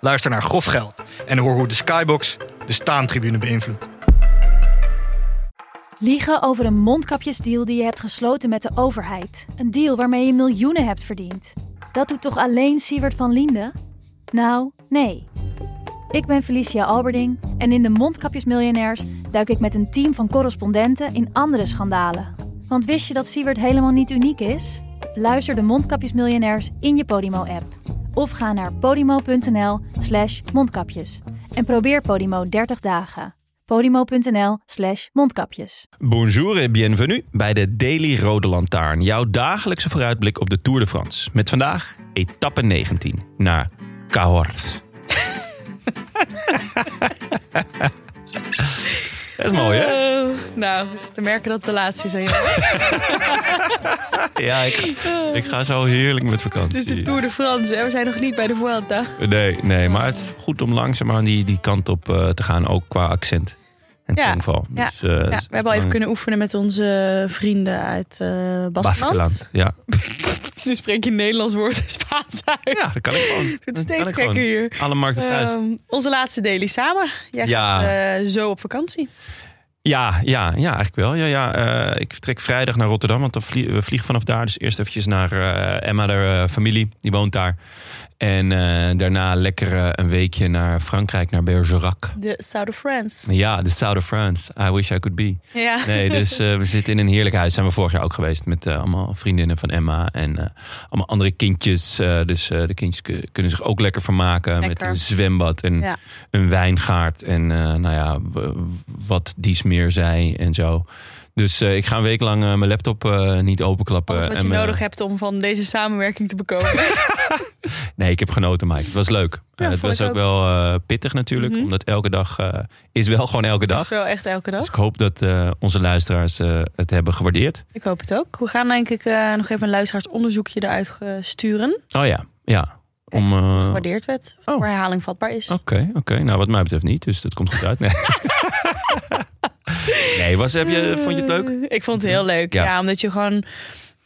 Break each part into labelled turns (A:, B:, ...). A: Luister naar Grof Geld en hoor hoe de Skybox de staantribune beïnvloedt.
B: Liegen over een mondkapjesdeal die je hebt gesloten met de overheid. Een deal waarmee je miljoenen hebt verdiend. Dat doet toch alleen Siewert van Linden? Nou, nee. Ik ben Felicia Alberding en in de Mondkapjesmiljonairs duik ik met een team van correspondenten in andere schandalen. Want wist je dat Siewert helemaal niet uniek is? Luister de Mondkapjesmiljonairs in je Podimo-app. Of ga naar podimo.nl slash mondkapjes. En probeer Podimo 30 dagen. podimo.nl slash mondkapjes.
C: Bonjour et bienvenue bij de Daily Rode Lantaarn. Jouw dagelijkse vooruitblik op de Tour de France. Met vandaag etappe 19 naar Cahors. Dat is mooi, hè?
D: Eh, nou, het is te merken dat het de laatste is. hè, jongen.
C: Ja, ik, ik ga zo heerlijk met vakantie.
D: Het is de Tour de France. Hè? We zijn nog niet bij de Vuelta.
C: Nee, nee, maar het is goed om langzaamaan die, die kant op eh, te gaan, ook qua accent en
D: Ja,
C: tongval.
D: ja,
C: Dus, eh,
D: Ja,
C: het
D: we
C: is
D: hebben al even
C: belangrijk.
D: kunnen oefenen met onze vrienden uit eh Baskeland.
C: Baskeland, ja.
D: Nu spreek je Nederlands woord en Spaans uit.
C: Ja, dat kan ik gewoon.
D: Het
C: Dat
D: wordt
C: kan
D: steeds
C: ik gewoon.
D: gekker hier.
C: Alle markten thuis.
D: Ehm, onze laatste daily samen. Jij
C: Ja.
D: gaat eh, zo op vakantie.
C: Ja, ja, ja, eigenlijk wel. Ja, ja, eh, ik vertrek vrijdag naar Rotterdam, want dan vlie- we vliegen vanaf daar. Dus eerst eventjes naar eh, Emma, haar eh, familie, die woont daar. En eh, daarna lekker eh, een weekje naar Frankrijk, naar Bergerac.
D: De South of France.
C: Ja, the South of France. I wish I could be.
D: Ja.
C: Nee, dus eh, we zitten in een heerlijk huis. Zijn we vorig jaar ook geweest met eh, allemaal vriendinnen van Emma en eh, allemaal andere kindjes. Eh, dus eh, de kindjes ku- kunnen zich ook lekker vermaken met
D: Lekker.
C: een zwembad en
D: Ja.
C: een wijngaard. En eh, nou ja, w- w- wat dies meer zei en zo. Dus eh, ik ga een week lang eh, mijn laptop eh, niet openklappen.
D: Alles wat
C: en eh,
D: je
C: me-
D: nodig hebt om van deze samenwerking te bekomen.
C: Nee, ik heb genoten, Mike. Het was leuk. Eh, het
D: vond
C: was
D: ik
C: ook,
D: ook.
C: wel eh, pittig natuurlijk,
D: Mhm.
C: omdat elke dag eh, is wel gewoon elke
D: Dat
C: dag.
D: is wel echt elke
C: Dus
D: dag.
C: ik hoop dat eh, onze luisteraars eh, het hebben gewaardeerd.
D: Ik hoop het ook. We gaan denk ik eh, nog even een luisteraarsonderzoekje eruit eh, sturen.
C: Oh ja, ja.
D: Kijk,
C: Om,
D: of het
C: eh,
D: gewaardeerd werd. Of het
C: oh.
D: voor herhaling vatbaar is.
C: Oké, oké. Nou, wat mij betreft niet, dus dat komt goed uit. Nee, nee was, heb je, vond je het leuk?
D: Eh, Ik vond het heel leuk.
C: Ja.
D: Ja, omdat je gewoon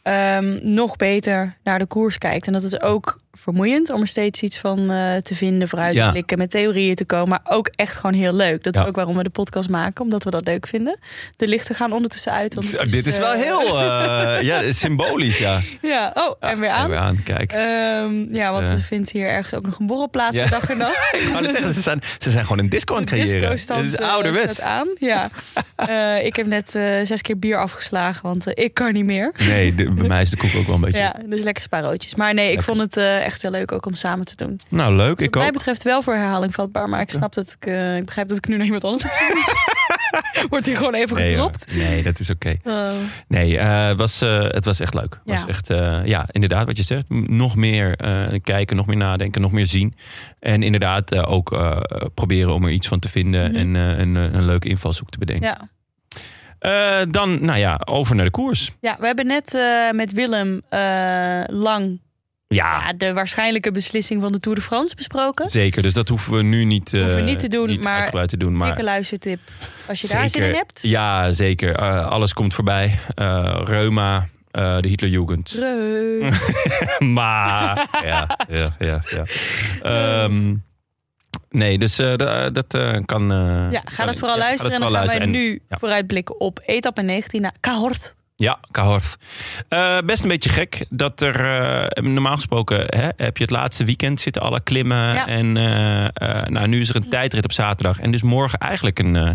D: ehm, nog beter naar de koers kijkt. En dat is ook vermoeiend om er steeds iets van eh, te vinden, vooruit
C: Ja.
D: te blikken, met theorieën te komen. Maar ook echt gewoon heel leuk. Dat
C: Ja.
D: is ook waarom we de podcast maken, omdat we dat leuk vinden. De lichten gaan ondertussen uit. Want het
C: Dit is wel
D: eh,
C: heel eh, ja, het is symbolisch, ja.
D: Ja, oh, en weer aan.
C: Even aan, kijk.
D: Ehm, ja, want
C: eh,
D: er vindt hier ergens ook nog een borrel plaats
C: Ja.
D: per dag en nacht.
C: Ik wou net zeggen, ze, zijn, ze zijn gewoon een disco aan het
D: De
C: creëren. Het
D: disco-stand,
C: is
D: eh,
C: ouderwets.
D: staat aan. Ja. Eh, ik heb net eh, zes keer bier afgeslagen, want eh, ik kan niet meer.
C: Nee, de- bij mij is de koek ook wel een beetje.
D: Ja, dus lekker spaarroodjes. Maar nee, ik vond het eh, echt heel leuk ook om samen te doen.
C: Nou, leuk.
D: Wat
C: Ik
D: mij
C: ook.
D: betreft wel voor herhaling vatbaar, maar ik snap dat ik, eh, ik begrijp dat ik nu naar iemand anders moet. Wordt hier gewoon even
C: Nee, hoor.
D: gedropt.
C: nee, dat is oké.
D: Eh,
C: Nee, eh, het was, eh, het was echt leuk. Het was
D: Ja.
C: echt, eh, ja, inderdaad, wat je zegt. M- Nog meer eh, kijken, nog meer nadenken, nog meer zien. En inderdaad eh, ook eh, proberen om er iets van te vinden
D: Mhm.
C: en eh, een, eh, een leuke invalshoek te bedenken.
D: ja.
C: Eh, dan, nou ja, over naar de koers.
D: ja, we hebben net eh, met Willem eh, lang
C: Ja,
D: ja, de waarschijnlijke beslissing van de Tour de France besproken.
C: zeker. Dus dat hoeven we nu niet, eh,
D: Hoeven we niet te doen, maar
C: uitgebreid te doen. Maar
D: Dikke luistertip. Als je
C: Zeker.
D: daar zin in hebt.
C: ja, zeker. Eh, alles komt voorbij. Eh, reuma, eh, de Hitlerjugend.
D: Dreu.
C: Maar. ja, ja, ja. ja. Ehm, nee, dus eh, da- dat eh, kan. eh,
D: Ja, ga
C: kan-
D: dat vooral
C: ja,
D: luisteren.
C: ga dat vooral
D: en dan gaan wij
C: luisteren. En-
D: nu
C: ja.
D: vooruitblikken op etappe 19 naar Cahort.
C: Ja, Cahors. Eh, best een beetje gek dat er. eh, normaal gesproken hè, heb je het laatste weekend zitten alle klimmen.
D: Ja.
C: En eh, eh, nou, nu is er een tijdrit op zaterdag. En dus morgen eigenlijk een. eh,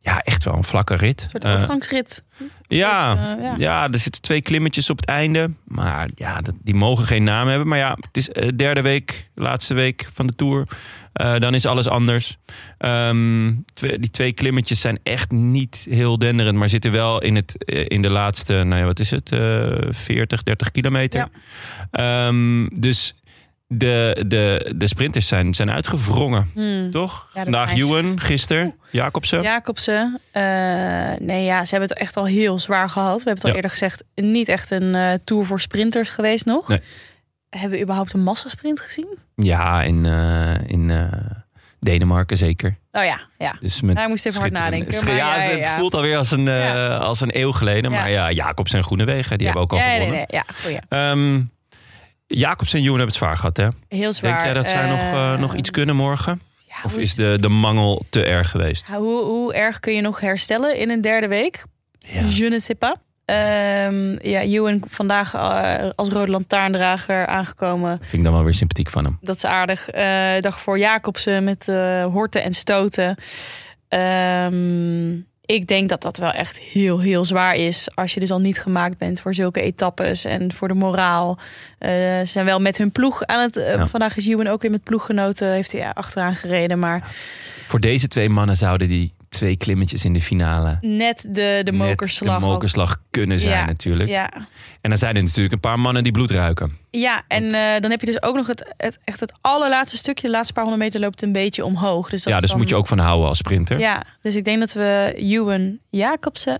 C: ja, echt wel een vlakke rit.
D: Een soort
C: Eh,
D: overgangsrit.
C: ja,
D: soort, eh,
C: ja.
D: ja.
C: er zitten twee klimmetjes op het einde. Maar ja, dat, die mogen geen naam hebben. Maar ja, het is eh, derde week, laatste week van de Tour. Eh, dan is alles anders. Ehm, twee- die twee klimmetjes zijn echt niet heel denderend. Maar zitten wel in, het, eh, in de laatste, nou ja, wat is het? eh 40, 30 kilometer. Ehm, dus de, de, de sprinters zijn, zijn uitgewrongen.
D: Hmm.
C: Toch?
D: dat
C: Vandaag
D: zijn ze.
C: Ewan, gisteren Jacobsen.
D: Jacobsen. eh, nee, ja, ze hebben het echt al heel zwaar gehad. We hebben het al
C: Ja.
D: eerder gezegd, niet echt een eh, tour voor sprinters geweest nog.
C: Nee.
D: Hebben we überhaupt een massasprint gezien?
C: Ja, in, eh, in eh, Denemarken zeker.
D: Oh ja, ja.
C: Dus met
D: Hij moest even hard
C: schitterende-
D: nadenken.
C: Schi- ja,
D: maar ja,
C: ze-
D: ja,
C: het
D: ja.
C: voelt alweer als een, eh,
D: Ja.
C: als een eeuw geleden.
D: Ja.
C: Maar ja, Jacobs en Groenewegen, die
D: Ja.
C: hebben ook al
D: Ja, nee,
C: gewonnen.
D: nee, ja, goeie.
C: Ehm, Jacobs en Ewan hebben het zwaar gehad, hè?
D: Heel zwaar.
C: Denk jij dat zij
D: eh,
C: nog, eh, nog iets kunnen morgen?
D: ja,
C: Of
D: hoe
C: is de, de mangel te erg geweest?
D: Hoe, hoe erg kun je nog herstellen in een derde week?
C: Ja.
D: Je ne sais pas. Ehm, ja, Ewan vandaag eh, als rode lantaarndrager aangekomen.
C: Vind ik dan wel weer sympathiek van hem.
D: Dat is aardig. Eh dag voor Jacobsen met eh, horten en stoten. Ehm, ik denk dat dat wel echt heel, heel zwaar is. Als je dus al niet gemaakt bent voor zulke etappes en voor de moraal. Eh, ze zijn wel met hun ploeg aan het... eh,
C: Ja.
D: Vandaag is Ewan ook weer met ploeggenoten. Heeft hij ja, achteraan gereden, maar...
C: Voor deze twee mannen zouden die twee klimmetjes in de finale...
D: net de, de
C: net
D: mokerslag.
C: een
D: ook.
C: mokerslag kunnen zijn
D: Ja,
C: natuurlijk.
D: Ja,
C: En dan zijn er natuurlijk een paar mannen die bloed ruiken.
D: ja en
C: Want-
D: eh, dan heb je dus ook nog het, het, echt het allerlaatste stukje. De laatste paar honderd meter loopt een beetje omhoog. Dus dat
C: ja,
D: is
C: dus
D: dan-
C: moet je ook van houden als sprinter.
D: Ja, dus ik denk dat we Ewan Jacobsen...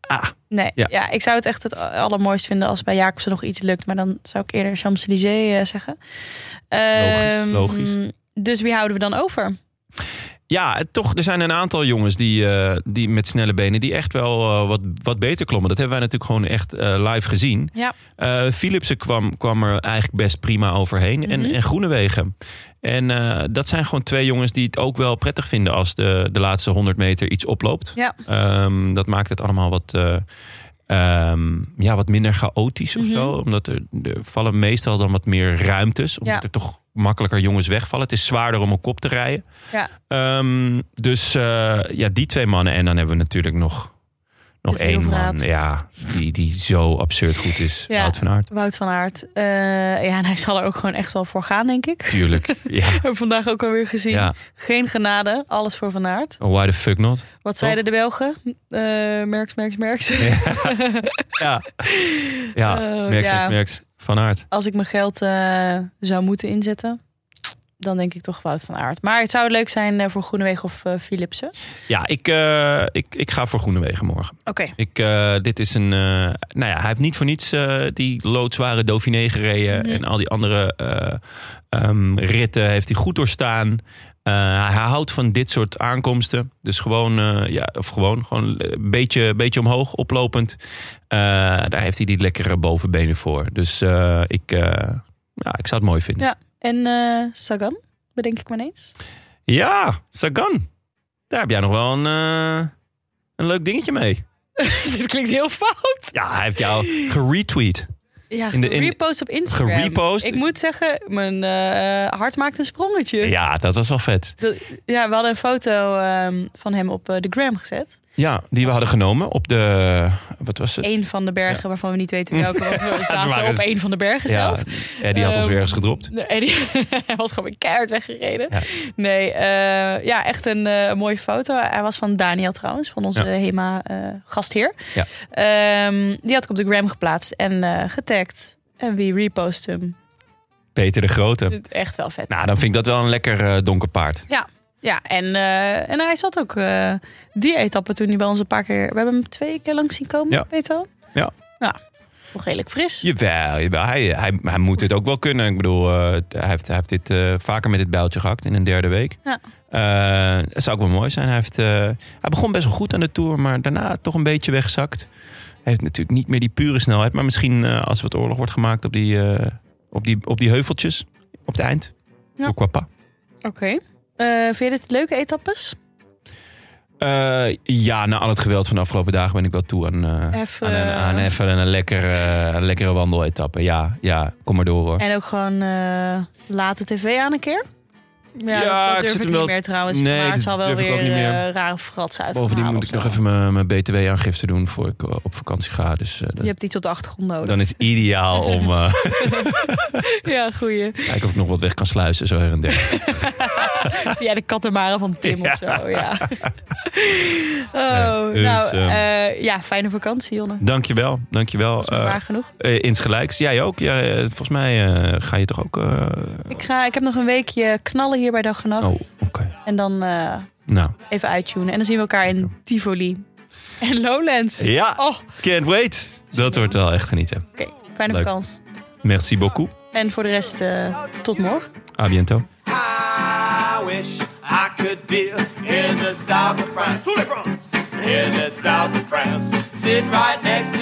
C: Ah,
D: Nee,
C: Ja.
D: ja. ik zou het echt het allermooist vinden als bij Jacobsen nog iets lukt. Maar dan zou ik eerder Champs-Élysées eh, zeggen. Ehm,
C: logisch.
D: Dus wie houden we dan over?
C: Ja, het- toch, er zijn een aantal jongens die, eh, die met snelle benen die echt wel eh, wat, wat beter klommen. Dat hebben wij natuurlijk gewoon echt eh, live gezien.
D: Ja.
C: Eh, Philipsen kwam, kwam er eigenlijk best prima overheen. en,
D: Mhm.
C: en Groenewegen. En eh, dat zijn gewoon twee jongens die het ook wel prettig vinden als de, de laatste 100 meter iets oploopt.
D: Ja.
C: Ehm, dat maakt het allemaal wat, eh, ehm, ja, wat minder chaotisch
D: Mhm.
C: of zo. Omdat er, er vallen meestal dan wat meer ruimtes. Omdat
D: Ja.
C: er toch makkelijker jongens wegvallen. Het is zwaarder om een kop te rijden.
D: Ja.
C: Ehm, dus eh, ja, die twee mannen. En dan hebben we natuurlijk nog, nog
D: De
C: één man.
D: veelvraat.
C: Ja, die, die zo absurd goed is.
D: Ja.
C: Wout van Aert.
D: Wout van Aert. Eh, ja, en hij zal er ook gewoon echt wel voor gaan, denk ik.
C: Tuurlijk. ja.
D: Hebben we vandaag ook alweer gezien.
C: ja. Oh,
D: Geen genade, alles voor Van Aert.
C: Why the fuck not?
D: Wat zeiden de Belgen? Eh, merks, merks, merks.
C: Ja. Ja,
D: Oh,
C: merks,
D: ja.
C: merks, merks. Van Aert.
D: Als ik mijn geld eh, zou moeten inzetten, dan denk ik toch Wout van Aert. Maar het zou leuk zijn eh, voor Groenewegen of eh, Philipsen.
C: Ja, ik, eh, ik, ik ga voor Groenewegen morgen.
D: Oké.
C: Ik, eh, dit is een. eh, nou ja, hij heeft niet voor niets eh, die loodzware Dauphiné gereden.
D: Mhm.
C: En al die andere eh, ehm, ritten heeft hij goed doorstaan. Eh, hij houdt van dit soort aankomsten. Dus gewoon, eh, ja, of gewoon, gewoon een beetje, beetje omhoog, oplopend. Eh, daar heeft hij die lekkere bovenbenen voor. Dus eh, ik, eh, ja, ik zou het mooi vinden.
D: En eh, Sagan, bedenk ik me ineens.
C: Ja, Sagan. Daar heb jij nog wel een, eh, een leuk dingetje mee.
D: Dit klinkt heel fout.
C: Ja, hij heeft jou geretweet.
D: Ja,
C: In de- in-
D: repost op Instagram.
C: Gerepost.
D: Ik moet zeggen, mijn eh, hart maakt een sprongetje. Ja.
C: Ja, dat was wel vet.
D: we hadden een foto ehm, van hem op eh, de gram gezet.
C: Ja, die we hadden genomen op de... Wat was het?
D: Eén van de bergen waarvan we niet weten welke, want we zaten
C: waren
D: op
C: het.
D: één van de bergen zelf.
C: Ja, ja, die had ons
D: Ehm,
C: weer ergens gedropt.
D: Nee, en die- hij was gewoon weer keihard weggereden.
C: Ja.
D: Nee, eh, ja, echt een eh, mooie foto. Hij was van Daniel trouwens, van onze
C: Ja.
D: HEMA-gastheer.
C: Ja.
D: Ehm, die had ik op de gram geplaatst en eh, getagd. En wie repost hem?
C: Peter de Grote.
D: Echt wel vet.
C: Nou, dan vind ik dat wel een lekker eh, donker paard.
D: Ja, en, eh, en hij zat ook eh, die etappe toen hij bij ons een paar keer... We hebben hem twee keer langs zien komen,
C: Ja.
D: weet je wel?
C: Ja.
D: Ja, nog redelijk fris.
C: Jawel, jawel. Hij, eh, hij, hij moet dit ook wel kunnen. Ik bedoel, eh, hij, heeft, hij heeft dit eh, vaker met dit bijltje gehakt in een derde week.
D: Ja.
C: Eh, dat zou ook wel mooi zijn. Hij, heeft, eh, hij begon best wel goed aan de Tour, maar daarna toch een beetje weggezakt. Hij heeft natuurlijk niet meer die pure snelheid. Maar misschien eh, als er wat oorlog wordt gemaakt op die, eh, op die, op die heuveltjes op het eind.
D: Ja.
C: Ook qua pa.
D: Oké. Eh, vind je dit leuke etappes?
C: Eh, ja, na al het geweld van de afgelopen dagen ben ik wel toe aan, eh,
D: Even,
C: aan, een, aan
D: eh,
C: even een lekkere, een lekkere wandeletappe. Ja, ja, kom maar door hoor.
D: En ook gewoon eh late tv aan een keer. Ja,
C: Ja, ik
D: dat, dat durf
C: zit
D: ik,
C: hem
D: niet
C: wel-
D: meer trouwens.
C: Nee,
D: maar
C: dat
D: het zal wel
C: durf ik ook
D: weer
C: niet meer.
D: eh, rare fratsen uit
C: Bovendien moet ik nog even mijn, mijn btw-aangifte doen voor ik eh, op vakantie ga. Dus eh, dat-
D: Je hebt iets op de achtergrond nodig.
C: dan is het ideaal om eh
D: Ja, goeie.
C: kijken of ik nog wat weg kan sluizen zo her en der.
D: Ja, de kattenmaren van Tim of zo, ja. Oh,
C: Nee,
D: nou,
C: dus, ehm,
D: eh, ja, fijne vakantie, Jonne.
C: Dankjewel, dankjewel.
D: Was me
C: Eh,
D: waar genoeg.
C: eh, insgelijks. Jij ook. Ja, eh, volgens mij eh, ga je toch ook... eh,
D: Ik, ga, ik heb nog een weekje knallen hier bij Dag en Nacht.
C: Oh, oké.
D: En dan eh,
C: Nou,
D: even uittunen. En dan zien we elkaar in Tivoli en Lowlands.
C: ja.
D: Oh, oké.
C: Can't wait. Dat wordt wel echt genieten.
D: Fijne
C: Leuk.
D: vakantie.
C: Merci beaucoup.
D: En voor de rest, eh, tot morgen.
C: A bientôt.
E: I wish I could be in the south of France. In the south of France. Sitting right next to